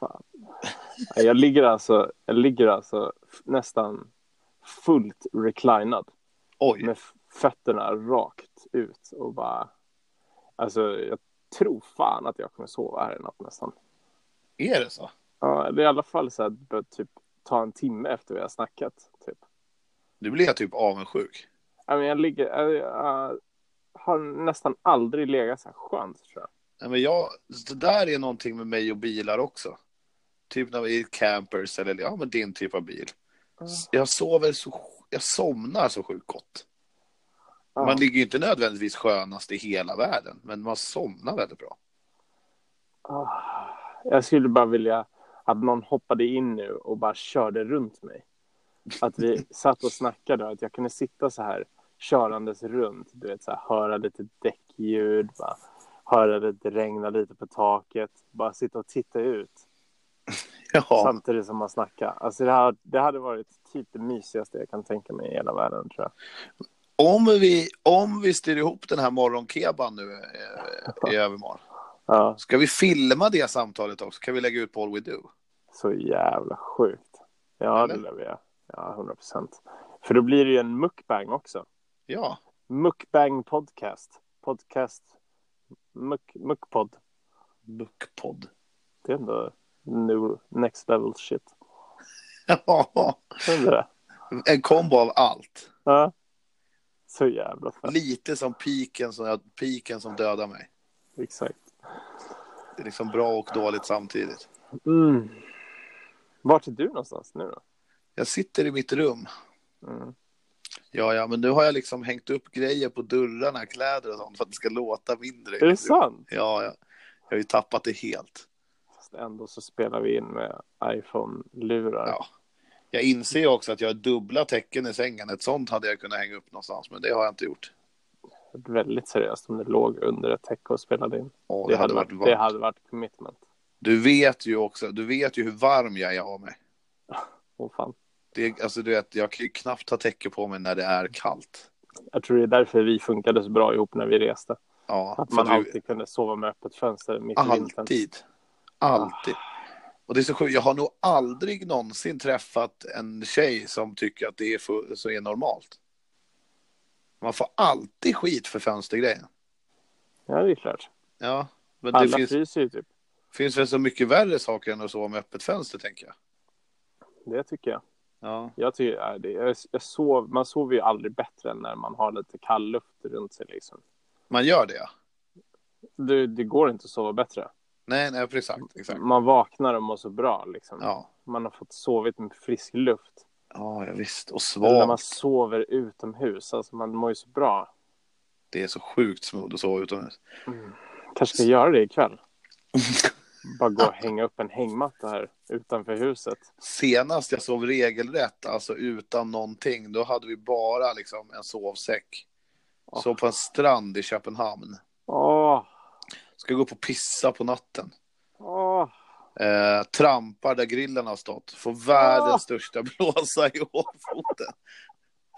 S2: Fan. Nej, Jag ligger alltså, jag ligger alltså f- nästan fullt reclinad
S1: Oj,
S2: med f- fötterna rakt ut och bara... Alltså, jag tror fan att jag kommer sova här i natt nästan.
S1: är det så?
S2: Ja, eller i alla fall så här, bör typ ta en timme efter vi har snackat. Typ.
S1: Nu blir jag typ avundsjuk.
S2: Ja, men Jag, ligger, jag, jag har nästan aldrig legat så här skönt, tror jag.
S1: Nej, men jag, det där är någonting med mig och bilar också. Typ när vi är campers eller ja, men din typ av bil. Jag sover så, jag somnar så sjukt gott.
S2: Ja.
S1: Man ligger ju inte nödvändigtvis skönast i hela världen, men man somnar väldigt bra.
S2: Ah, Jag skulle bara vilja att någon hoppade in nu och bara körde runt mig. Att vi satt och snackade och att jag kunde sitta så här körandes runt. Du vet, så här, höra lite däckljud, bara, höra det regna lite på taket. Bara sitta och titta ut
S1: Ja,
S2: samtidigt som man snackar. Alltså det, här, det hade varit typ det mysigaste jag kan tänka mig i hela världen tror jag.
S1: om vi, om vi styr ihop den här morgonkeban nu eh, i övermorgon,
S2: Ja,
S1: ska vi filma det samtalet också? Kan vi lägga ut på All We Do?
S2: så jävla sjukt. Ja, det
S1: Eller?
S2: lär vi göra. Ja, 100 procent. För då blir det ju en mukbang också.
S1: Ja,
S2: Mukbang podcast. Podcast. Muk, mukpod.
S1: Bookpod.
S2: Det är ändå new, next level shit.
S1: Ja,
S2: Hör du det?
S1: en kombo av allt.
S2: Ja. Så jävla fett.
S1: Lite som piken som, piken som dödar mig.
S2: Exakt.
S1: Det är liksom bra och dåligt samtidigt.
S2: Mm. Vart är du någonstans nu då?
S1: Jag sitter i mitt rum
S2: Mm.
S1: Ja, ja, men nu har jag liksom hängt upp grejer på dörrarna, kläder och sånt för att det ska låta mindre.
S2: Är det sant?
S1: Ja, ja. Jag har ju tappat det helt.
S2: Fast ändå så spelar vi in med iPhone-lurar.
S1: Ja. Jag inser ju också att jag har dubbla täcken i sängen. Ett sånt hade jag kunnat hänga upp någonstans, men det har jag inte gjort.
S2: Det är Väldigt seriöst om det låg under ett täcke och spelade in.
S1: Åh,
S2: det, hade varit, det
S1: varmt.
S2: hade varit commitment.
S1: Du vet ju också, du vet ju hur varm jag är av mig.
S2: Åh fan.
S1: Det, alltså, du vet, jag kan ju knappt ha täcke på mig när det är kallt.
S2: Jag tror det är därför vi funkade så bra ihop när vi reste.
S1: Ja,
S2: Att
S1: för
S2: man
S1: du-
S2: alltid kunde sova med öppet fönster mitt i vintern.
S1: Alltid. Alltid. Och det är så sjukt, jag har nog aldrig någonsin träffat en tjej som tycker att det är fu- så är normalt. Man får alltid skit för fönstergrejen.
S2: Ja, det är klart.
S1: Ja, men det
S2: Alla
S1: finns,
S2: fryser ju typ.
S1: finns väl så mycket värre saker än att sova med öppet fönster, tänker jag.
S2: Det tycker jag.
S1: Ja.
S2: jag, tycker, ja, det, jag, jag sov, man sover ju aldrig bättre än när man har lite kall luft runt sig. Liksom.
S1: Man gör det, ja.
S2: Det, det går inte att sova bättre.
S1: Nej, nej, exakt. exakt.
S2: Man vaknar och mår så bra. Liksom.
S1: Ja.
S2: Man har fått sovit med frisk luft.
S1: ja, ja, visst. Och
S2: Eller när man
S1: svagt.
S2: sover utomhus. Alltså, man mår ju så bra.
S1: Det är så sjukt smooth att sova utomhus.
S2: kanske ska göra det ikväll. Bara gå och hänga upp en hängmatta här utanför huset.
S1: Senast jag sov regelrätt, alltså utan någonting, då hade vi bara liksom en sovsäck.
S2: Ja.
S1: Sov på en strand i Köpenhamn.
S2: Åh,
S1: Ska gå upp och pissa på natten.
S2: åh.
S1: Eh, trampar där grillen har stått. Får världens största blåsa i hårfoten.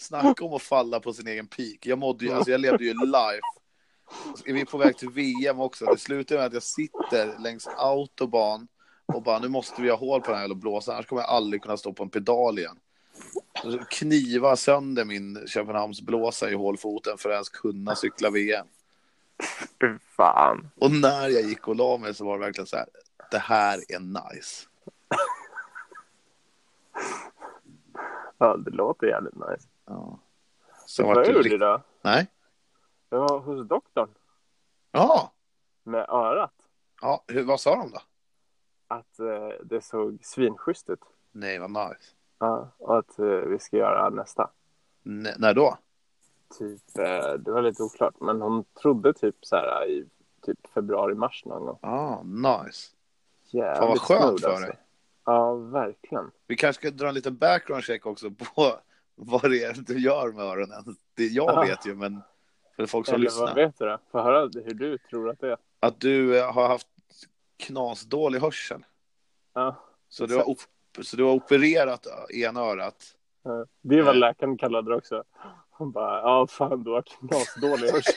S1: Snacka om att falla på sin egen peak. Jag, mådde ju, alltså jag levde ju life. Är vi på väg till VM också? Det slutar med att jag sitter längs autobahn och bara nu måste vi ha hål på den här jävla blåsan annars kommer jag aldrig kunna stå på en pedal igen. Så Kniva sönder min Köpenhamnsblåsa i hålfoten för att ens kunna cykla VM.
S2: Fy fan.
S1: Och när jag gick och la mig så var det verkligen så här, det här är nice.
S2: Ja, det låter jävligt nice.
S1: Ja. Sen var
S2: Vad
S1: det
S2: gjorde du
S1: rikt-
S2: då?
S1: Nej.
S2: Jag var hos doktorn
S1: Ja.
S2: med örat.
S1: ja, hur, vad sa de då?
S2: Att eh, det såg svinschysst ut.
S1: Nej, vad nice.
S2: Ja, och att eh, vi ska göra nästa.
S1: N- när då?
S2: Typ, eh, det var lite oklart, men hon trodde typ så här i typ februari-mars någon gång.
S1: Ah, nice.
S2: Jävligt
S1: Fan, vad skönt
S2: smooth,
S1: för
S2: alltså.
S1: dig.
S2: Ja, verkligen.
S1: Vi kanske ska dra en liten background check också på vad det är du gör med öronen. Det
S2: Aha.
S1: jag vet ju, men för folk som
S2: Eller vad
S1: lyssnar.
S2: vet du då? Få höra hur du tror att det är.
S1: Att du eh, har haft knasdålig hörsel.
S2: Ja.
S1: Så du, har op- så du har opererat ö- ena örat.
S2: Ja, Det är vad
S1: Eh.
S2: läkaren kallade det också. Hon bara, ja fan du har knasdålig hörsel.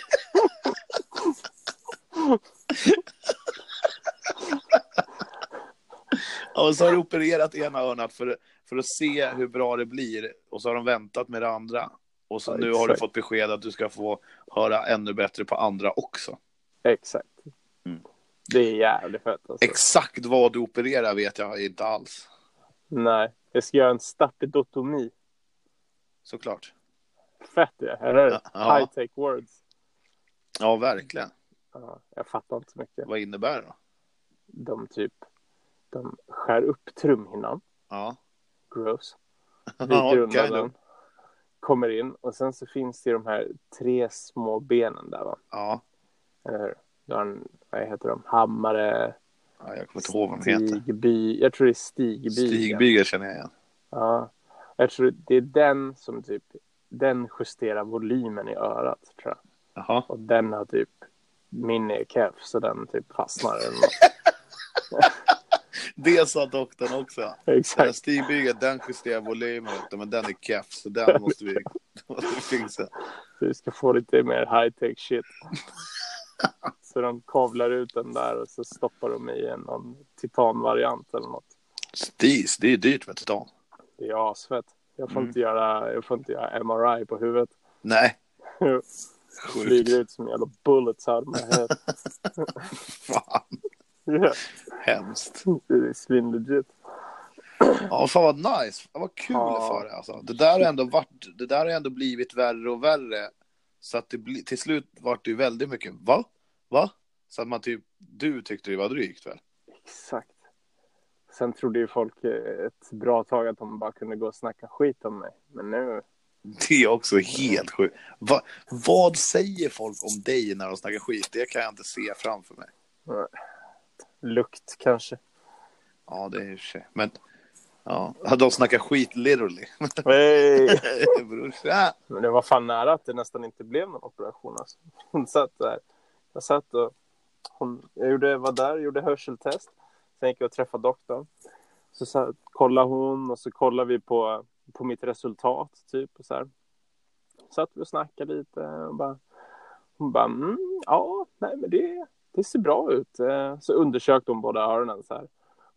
S1: Ja, Och så har du opererat ena örat för, för att se hur bra det blir. Och så har de väntat med det andra. Och så
S2: Ja,
S1: nu har du
S2: exakt.
S1: fått besked att du ska få höra ännu bättre på andra också.
S2: Exakt.
S1: Mm.
S2: Det är jävligt fett alltså.
S1: Exakt vad du opererar vet jag inte alls.
S2: Nej, jag ska göra en stapidotomi.
S1: Såklart.
S2: Fett det, eller hur?
S1: Ja.
S2: High tech words.
S1: Ja, verkligen.
S2: Ja, jag fattar inte så mycket.
S1: Vad innebär det då?
S2: De typ, de skär upp trumhinnan.
S1: Ja.
S2: Gross. Viker
S1: Ja,
S2: undan
S1: okej då.
S2: den. kommer in och sen så finns det ju de här tre små benen där va?
S1: Ja,
S2: Eller hur? Du har en, vad heter de? Hammare,
S1: ja jag kommer inte ihåg vad de heter.
S2: Stigby, jag tror det är Stigby.
S1: Stigbyger känner jag igen.
S2: Ja. Jag tror det är den som typ, den justerar volymen i örat tror jag.
S1: Jaha.
S2: Och den har typ, min är keff så den typ fastnar eller något.
S1: Det sa doktorn också.
S2: Exakt.
S1: Stigbyger, den justerar volymen lite, men den är keff, så den måste vi, den måste vi fixa.
S2: Så vi ska få lite mer high tech shit. Så de kavlar ut den där och så stoppar de i en någon titanvariant eller något.
S1: Stis, det är dyrt med titan.
S2: Det är asfett. Jag får, inte göra, jag får inte göra MRI på huvudet.
S1: Nej, sjukt.
S2: Flyger ut som jävla bullets out of my head.
S1: Fan,
S2: Yeah.
S1: hemskt.
S2: Det är svinlegit.
S1: Ja, fan vad nice. Ja, Vad kul
S2: Ja.
S1: för dig alltså. Det där har ändå varit, det där har ändå blivit värre och värre. Så att det bli, till slut vart det ju väldigt mycket va? Va? Så att man typ, du tyckte det var drygt väl?
S2: Exakt. Sen trodde ju folk eh, ett bra tag att de bara kunde gå och snacka skit om mig. Men nu,
S1: Det är också helt sjukt. Va, vad säger folk om dig när de snackar skit? Det kan jag inte se framför mig.
S2: lukt kanske.
S1: Ja, det är ju sig. Men ja, de snackar skit literally.
S2: Hey.
S1: Brorsa.
S2: Men det var fan nära att det nästan inte blev någon operation. Alltså. Hon satt där. Jag satt och hon, jag gjorde, var där gjorde hörseltest. Sen gick jag och träffade doktorn. Så, så kollade hon och så kollade vi på, på mitt resultat. Typ, och så här. Satt vi och snackade lite. Och bara, hon bara, mm, ja, nej men det, det ser bra ut. Eh, Så undersökte hon båda öronen så här.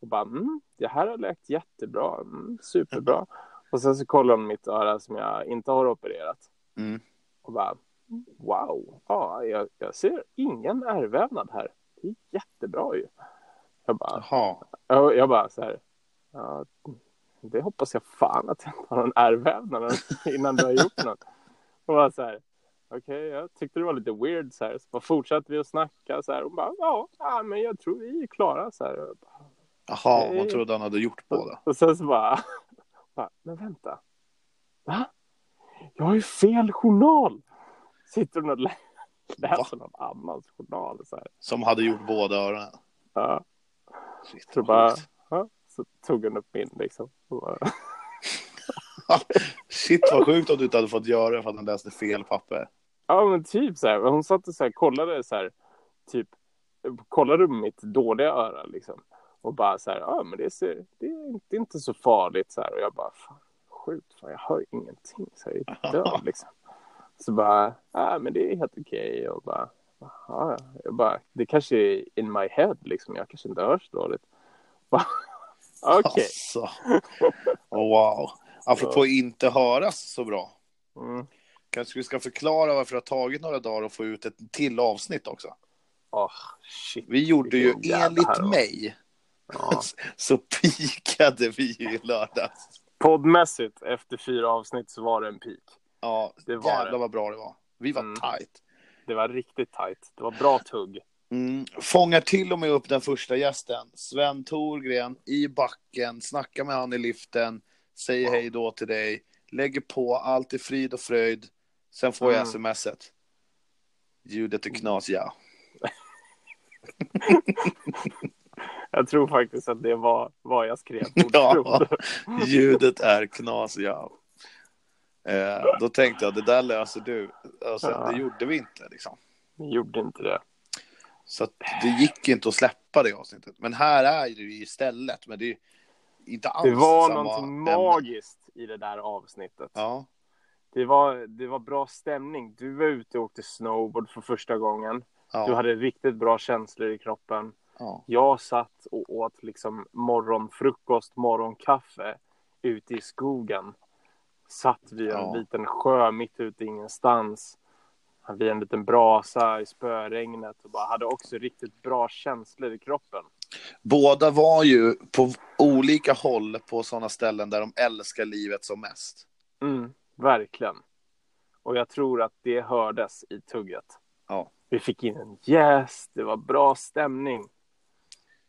S2: Och bara, mm, det här har läkt jättebra. Mm, superbra. Och sen så kollar de mitt öra som jag inte har opererat.
S1: Mm.
S2: Och bara, wow, ja, jag, jag ser ingen ärrvävnad här. Det är jättebra ju. Jag bara,
S1: Jaha.
S2: jag, jag bara så här, ja, det hoppas jag fan att jag inte har någon ärrvävnad innan du har gjort något. Och bara så här, okej, jag tyckte det var lite weird så här. Så bara fortsatte vi att snacka så här. Och bara, ja, ja, men jag tror vi är klara så här. Och bara,
S1: Jaha,
S2: Okej.
S1: hon trodde han hade gjort båda.
S2: och sen så bara, bara, men vänta. Va? Jag har ju fel journal. Sitter hon och lä- läser någon annans journal. Så här.
S1: Som hade gjort båda öronen.
S2: Ja,
S1: Shit,
S2: så
S1: vad
S2: bara,
S1: sjukt.
S2: ja. så tog hon upp min liksom. Och bara,
S1: Shit vad sjukt om du inte hade fått göra det för att han läste fel papper.
S2: Ja men typ så här. Hon satt och så här, kollade så här. Typ kollade med mitt dåliga öra liksom. Och bara så här. Ja men det, ser, det, är, inte- det är inte så farligt så här. Och jag bara fan sjukt. Fan, jag hör ingenting. Så här, jag är död liksom. Så bara. Ja men det är helt okej. Och bara. Aha. Jag bara. Det kanske är in my head liksom. Jag kanske inte hörs dåligt. Bara, Okej.
S1: Alltså. Oh, wow. Apropå inte höras så bra.
S2: Mm.
S1: Kanske vi ska förklara varför det har tagit några dagar att få ut ett till avsnitt också.
S2: Åh shit.
S1: Vi gjorde ju
S2: Vilken jävla härva.
S1: enligt mig
S2: Ja.
S1: så pikade vi ju i lördags.
S2: Poddmässigt efter fyra avsnitt så var det en peak.
S1: Ja,
S2: Det var
S1: jävlar
S2: det.
S1: vad bra det var. Vi var
S2: Mm.
S1: tight.
S2: Det var riktigt tajt. Det var bra tugg.
S1: Mm, fångar till och med upp den första gästen, Sven Thorgren, i backen, snackar med han i liften, säger hej då till dig, lägger på, allt är frid och fröjd. Sen får jag
S2: Mm.
S1: smset. Ljudet är knas, ja.
S2: Jag tror faktiskt att det var vad jag skrev.
S1: ja. Ljudet är knas, ja. Eh, då tänkte jag, det där löser du. Och sen,
S2: Ja.
S1: Det gjorde vi inte. Liksom.
S2: Ni gjorde inte det.
S1: Så att det gick inte att släppa det avsnittet. Men här är det ju istället. Men det är inte alls
S2: Det var
S1: samma
S2: någonting
S1: ämne.
S2: magiskt i det där avsnittet.
S1: Ja.
S2: Det, var, det var bra stämning. Du var ute och åkte snowboard för första gången.
S1: Ja,
S2: Du hade riktigt bra känslor i kroppen.
S1: ja.
S2: Jag satt och åt liksom morgonfrukost, morgonkaffe ute i skogen. Satt vid en
S1: Ja.
S2: liten sjö mitt ute i ingenstans. Vid en liten brasa i spöregnet och bara hade också riktigt bra känslor i kroppen.
S1: Båda var ju på olika håll på sådana ställen där de älskar livet som mest.
S2: Mm, verkligen. Och jag tror att det hördes i tugget.
S1: Ja.
S2: Vi fick in en gäst, det var bra stämning.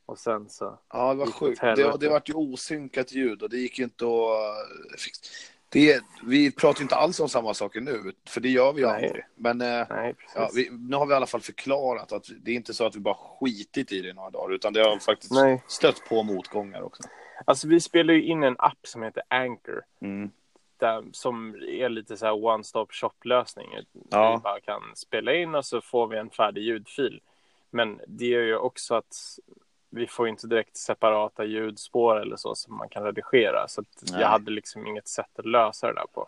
S2: Och sen så,
S1: Ja, det var
S2: Gick åt
S1: sjukt. Det,
S2: helvete.
S1: det vart ju osynkat ljud och det gick ju inte att... eh, fix- Det, är- vi pratar ju inte alls om samma saker nu, för det gör vi ju
S2: Nej.
S1: aldrig. Men eh,
S2: Nej, precis.
S1: ja, vi, nu har vi i alla fall förklarat att det är inte så att vi bara skitit i det i några dagar, utan det har faktiskt
S2: Nej.
S1: stött på motgångar också.
S2: Alltså, vi spelar ju in en app som heter Anchor.
S1: Mm.
S2: Där, som är lite så här one-stop shop-lösning.
S1: Ja.
S2: Vi bara kan spela in och så får vi en färdig ljudfil. Men det gör ju också att vi får ju inte direkt separata ljudspår eller så som man kan redigera. Så att
S1: Nej.
S2: jag hade liksom inget sätt att lösa det där på.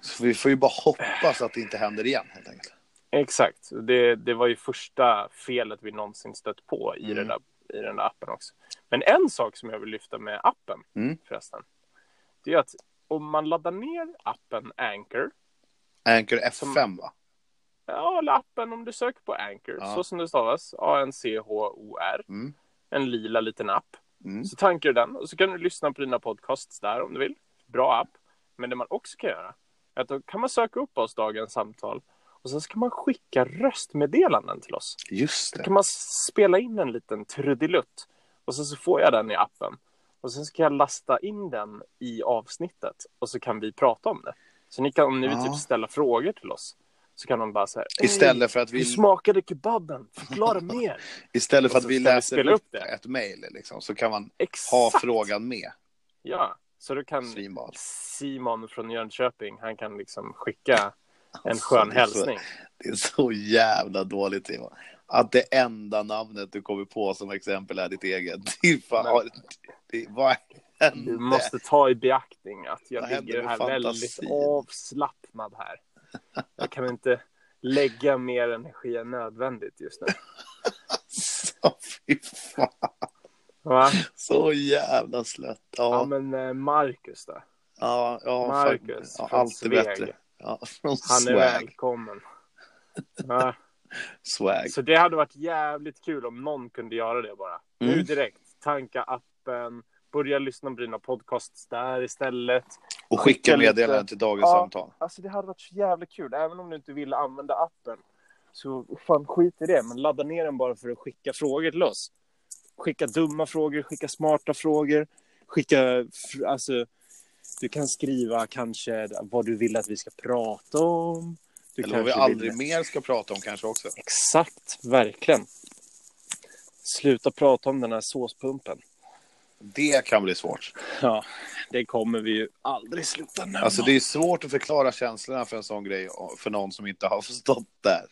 S1: Så vi får ju bara hoppas att det inte händer igen, helt enkelt.
S2: Exakt. Det, det var ju första felet vi någonsin stött på i,
S1: Mm.
S2: den där, i den där appen också. Men en sak som jag vill lyfta med appen
S1: Mm.
S2: förresten. Det är att om man laddar ner appen Anchor.
S1: Anchor F5, va?
S2: Ja, eller appen om du söker på Anchor.
S1: Ja.
S2: Så som det stavas. A-N-C-H-O-R.
S1: Mm.
S2: En lila liten app.
S1: Mm.
S2: Så tankar du den och så kan du lyssna på dina podcasts där om du vill. Bra app. Men det man också kan göra är att då kan man söka upp oss dagens samtal och sen ska man skicka röstmeddelanden till oss.
S1: Just det.
S2: kan man spela in en liten trudelutt och sen så får jag den i appen och sen ska jag lasta in den i avsnittet och så kan vi prata om det. Så ni kan, om ni vill
S1: Ja.
S2: typ ställa frågor till oss så kan de bara säga
S1: Istället för att
S2: Hur
S1: vi,
S2: smakade kebaben? Förklara mer.
S1: istället för
S2: och
S1: att
S2: så
S1: vi
S2: ska vi
S1: läser
S2: spela
S1: upp
S2: upp det.
S1: ett mejl, liksom, så kan man ha
S2: Exakt.
S1: frågan med.
S2: Ja, så då kan
S1: Svinball.
S2: Simon från Jönköping, han kan liksom skicka en
S1: Alltså,
S2: skön
S1: det är så-
S2: hälsning.
S1: Det är så jävla dåligt, Timon. Att det enda namnet du kommer på som exempel är ditt eget. Det är fan, det, det, vad hände?
S2: Du måste ta i beaktning att
S1: Vad
S2: jag
S1: händer
S2: ligger
S1: med
S2: här väldigt
S1: fantasin?
S2: avslappnad här. Jag kan inte lägga mer energi än nödvändigt just nu.
S1: Alltså, fy fan.
S2: Va?
S1: Så jävla slött.
S2: Ja,
S1: Ja,
S2: men eh, Marcus då?
S1: ja, ja, fan.
S2: Marcus
S1: ja
S2: från
S1: alltid
S2: Sveg.
S1: bättre. Ja, från
S2: Han är
S1: swag.
S2: välkommen. Ja,
S1: swag.
S2: så det hade varit jävligt kul om någon kunde göra det bara. Nu
S1: Mm.
S2: direkt. Tanka appen. Börja lyssna på dina podcasts där istället.
S1: Och
S2: skicka
S1: skicka
S2: lite-
S1: meddelanden till dagens
S2: Ja.
S1: samtal.
S2: Alltså det hade varit så jävla kul, även om du inte ville använda appen. Så fan skit i det, men ladda ner den bara för att skicka frågor till oss. Skicka dumma frågor, skicka smarta frågor, skicka, fr- alltså, du kan skriva kanske vad du vill att vi ska prata om. Du
S1: Eller vad vi
S2: kanske vill-
S1: aldrig mer ska prata om kanske också.
S2: Exakt, verkligen. Sluta prata om den här såspumpen.
S1: Det kan bli svårt.
S2: Ja, det kommer vi ju aldrig sluta nämna.
S1: Alltså det är svårt att förklara känslorna för en sån grej för någon som inte har förstått där.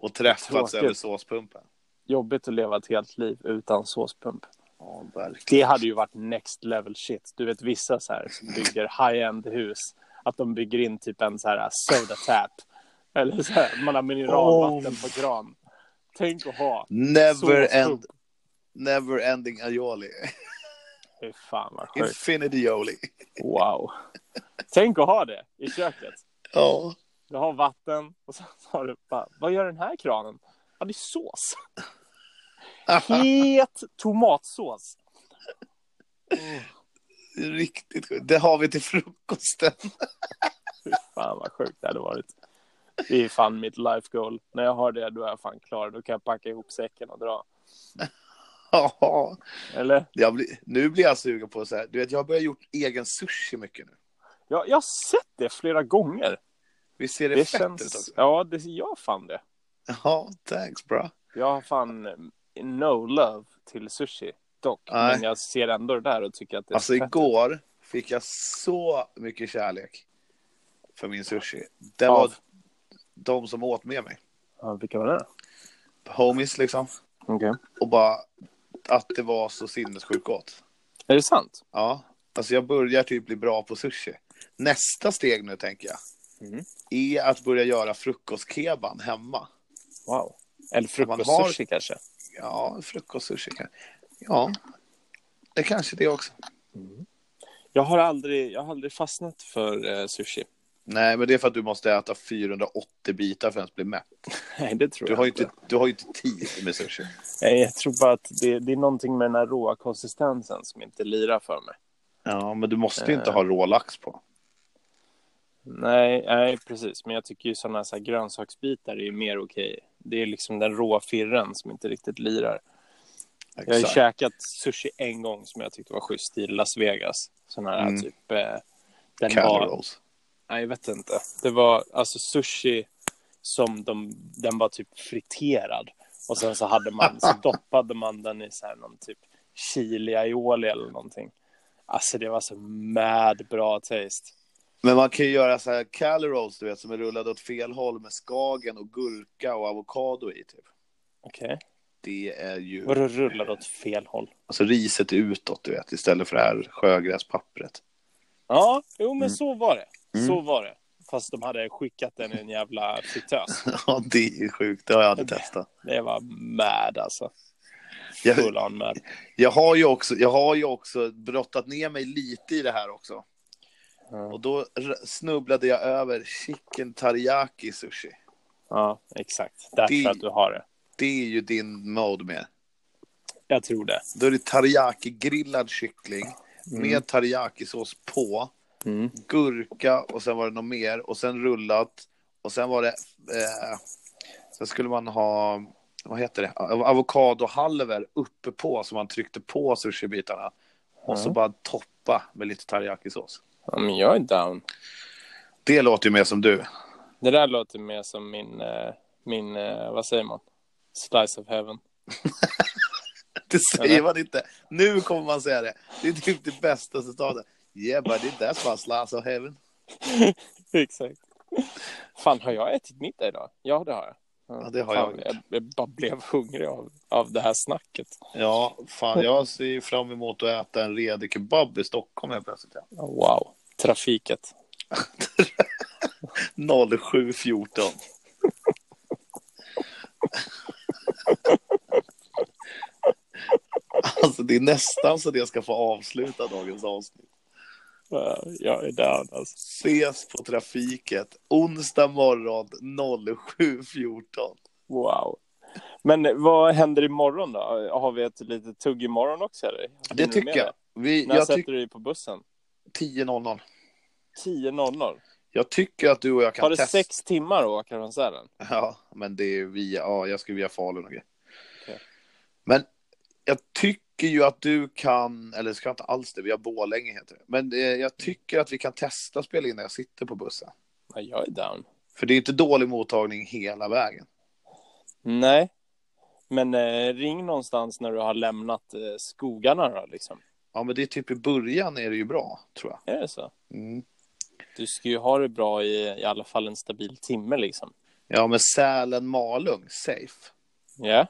S1: Och träffats
S2: Tråkigt.
S1: över såspumpen.
S2: Jobbigt att leva ett helt liv utan såspump.
S1: Ja, verkligen.
S2: Det hade ju varit next level shit. Du vet vissa så här som bygger high-end hus, att de bygger in typ en så här soda tap. Eller så här, man har mineralvatten på gran. Tänk att ha.
S1: Oh. Never,
S2: såspump.
S1: end, never ending aioli.
S2: Fy fan vad sjukt.
S1: Infinity aioli.
S2: Wow. Tänk att ha det i köket.
S1: Ja.
S2: Du har vatten och så har du bara, vad gör den här kranen? Ja, det är sås. Het tomatsås.
S1: Riktigt sjukt. Det har vi till frukosten.
S2: Fy fan vad sjukt det hade varit. Det är fan mitt life goal. När jag har det då är jag fan klar. Då kan jag packa ihop säcken och dra.
S1: Ja.
S2: Eller?
S1: Jag blir, nu blir jag sugen på så här. Du vet, jag har börjat gjort egen sushi mycket nu.
S2: Ja, jag har sett det flera gånger.
S1: Vi ser det,
S2: Det
S1: fett ut
S2: känns...
S1: också?
S2: Ja, det, jag fan det.
S1: Ja, thanks bra.
S2: Jag har fan no love till sushi dock.
S1: Nej.
S2: Men jag ser ändå det där och tycker att det är
S1: Alltså
S2: fett.
S1: igår fick jag så mycket kärlek för min sushi. Det
S2: Av?
S1: var de som åt med mig.
S2: Ja, vilka var det?
S1: Homies liksom.
S2: Okej.
S1: Och bara att det var så sinnessjukt gott.
S2: Är det sant?
S1: Ja, alltså jag börjar typ bli bra på sushi. Nästa steg nu tänker jag
S2: Mm.
S1: är att börja göra frukostkeban hemma.
S2: Wow. Eller
S1: man har-
S2: frukostsushi kanske?
S1: Ja, frukostsushi. kan- Ja, det kanske det också.
S2: Jag har aldrig, jag har aldrig fastnat för eh, sushi.
S1: Nej, men det är för att du måste äta 480 bitar för att ens bli mätt.
S2: Nej, det tror
S1: Du
S2: jag
S1: har ju inte, du har ju inte tid med sushi.
S2: Nej, jag tror bara att det, det är någonting med den här råa konsistensen som inte lirar för mig.
S1: Ja, men du måste ju inte
S2: Eh.
S1: ha rå lax på.
S2: Nej, nej precis. Men jag tycker ju sådana så här grönsaksbitar är ju mer okej. Det är liksom den råa firren som inte riktigt lirar. Jag har ju
S1: Exakt.
S2: käkat sushi en gång som jag tyckte var schysst i Las Vegas. Sån här
S1: Mm.
S2: typ... Eh, Den
S1: Cattle
S2: var,
S1: rolls.
S2: nej jag vet inte. Det var alltså sushi som de, den var typ friterad. Och sen så hade man, så doppade man den i så här någon typ chili aioli eller någonting. Alltså det var så mad bra taste.
S1: Men man kan ju göra så här Cattle rolls, du vet, som är rullade åt fel håll med skagen och gurka och avokado i. Typ.
S2: Okej.
S1: Det är ju...
S2: Vadå rullade åt fel håll?
S1: Alltså riset är utåt, du vet, istället för det här sjögräspappret.
S2: Ja, jo men så var det.
S1: Mm.
S2: Så var det. Fast de hade skickat den i en jävla fritös.
S1: Ja, det är ju sjukt. Det har jag aldrig testat.
S2: Det var mad alltså.
S1: Jag-
S2: Full on mad.
S1: Jag har ju också, jag har ju också brottat ner mig lite i det här också.
S2: Ja.
S1: Och då r- snubblade jag över chicken teriyaki sushi.
S2: Ja, exakt. Därför
S1: Det-
S2: att du har det.
S1: Det är ju din mode med.
S2: Jag tror det.
S1: Då är det teriyaki-grillad kyckling
S2: Mm.
S1: med teriyakisås på,
S2: Mm.
S1: gurka och sen var det något mer och sen rullat och sen var det... Eh, sen skulle man ha, vad heter det, Av- avokadohalvor uppe på som man tryckte på sushibitarna och så
S2: Mm.
S1: bara toppa med lite teriyakisås.
S2: Ja, men jag är down.
S1: Det låter ju mer som du.
S2: Det där låter mer som min, eh, min eh, vad säger man? Slice of heaven.
S1: Det säger
S2: Eller?
S1: man inte. Nu kommer man säga det. Det är typ det bästa citatet. Yeah, but it, that's my slice of heaven.
S2: exakt. Fan, har jag ätit middag idag? Ja, det har jag.
S1: Ja, det har
S2: Fan,
S1: jag
S2: jag, jag bara blev hungrig av, av det här snacket.
S1: Ja, fan, jag ser ju fram emot att äta en redig kebab i Stockholm helt plötsligt. ja.
S2: Ja, Wow, trafiket.
S1: 07.14. Alltså det är nästan så det ska få avsluta dagens avsnitt.
S2: Ja, Eh, Jag är down alltså.
S1: Ses på trafiket onsdag morgon 07.14.
S2: Wow. Men vad händer imorgon då? Har vi ett litet tugg imorgon också? Eller? Hinner
S1: Det
S2: du
S1: tycker
S2: med
S1: jag. Vi,
S2: När
S1: jag
S2: sätter
S1: tycker
S2: du dig på bussen?
S1: 10.00.
S2: 10.00.
S1: Jag tycker att du och jag kan
S2: Har du
S1: testa.
S2: sex timmar att åka från Sälen?
S1: Ja, men det är via, ja, jag ska via Falun och grejer.
S2: Okej.
S1: Men jag tycker ju att du kan, eller ska jag inte alls det, vi har Borlänge heter det. Men eh, jag tycker att vi kan testa att spela in när jag sitter på bussen.
S2: Ja, jag är down.
S1: För det är inte dålig mottagning hela vägen.
S2: Nej. Men eh, ring någonstans när du har lämnat eh, skogarna då, liksom.
S1: Ja, men det är typ i början är det ju bra, tror jag.
S2: Är det så?
S1: Mm.
S2: Du ska ju ha det bra i i alla fall en stabil timme liksom.
S1: Ja, men Sälen-Malung, safe.
S2: Ja.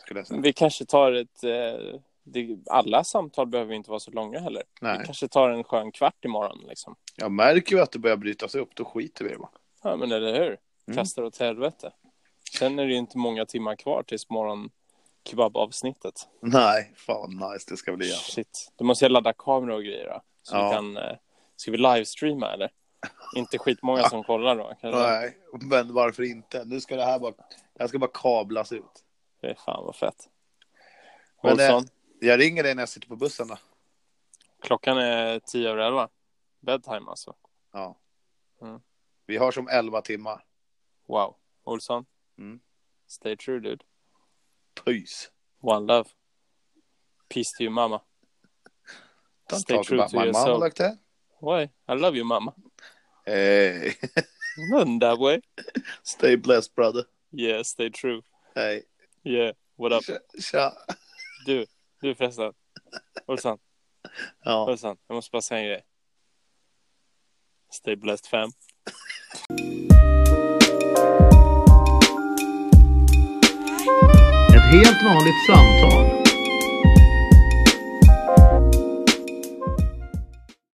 S1: Skulle jag säga.
S2: Vi kanske tar ett... Eh, det, alla samtal behöver ju inte vara så långa heller. Vi
S1: Nej,
S2: kanske tar en skön kvart imorgon liksom.
S1: jag märker ju att det börjar brytas upp, då skiter vi i det bara.
S2: Ja, men eller hur?
S1: Mm.
S2: Kastar åt helvete. Sen är det ju inte många timmar kvar tills morgon kebabavsnittet.
S1: Nej, fan nice det ska bli. Alltså.
S2: Shit. Då måste jag ladda kamera och grejer då. Så
S1: Ja.
S2: vi kan... Eh, ska vi livestreama eller? Inte skitmånga som kollar då. Kanske.
S1: Nej, men varför inte? Nu ska det här bara, jag ska bara kablas ut.
S2: Det är fan vad fett.
S1: Men, eh,
S2: Olsson,
S1: Jag ringer dig när jag sitter på bussen då.
S2: klockan är tio över elva. Bedtime alltså.
S1: Ja.
S2: Mm.
S1: Vi hörs om 11 timmar.
S2: Wow. Olsson.
S1: Mm.
S2: Stay true dude.
S1: Pys.
S2: One love. Peace to you mama.
S1: Don't
S2: Stay
S1: talk
S2: true
S1: about
S2: to
S1: my mom
S2: yourself.
S1: like that.
S2: Why? I love you mama.
S1: Hey.
S2: None that way.
S1: Stay blessed brother.
S2: Yeah, stay true.
S1: Hey.
S2: Yeah, what up?
S1: Tja.
S2: Du, du förresten. Olsson,
S1: Ja.
S2: Olsson, jag måste bara säga en grej. Stay blessed fam.
S4: Ett helt vanligt samtal.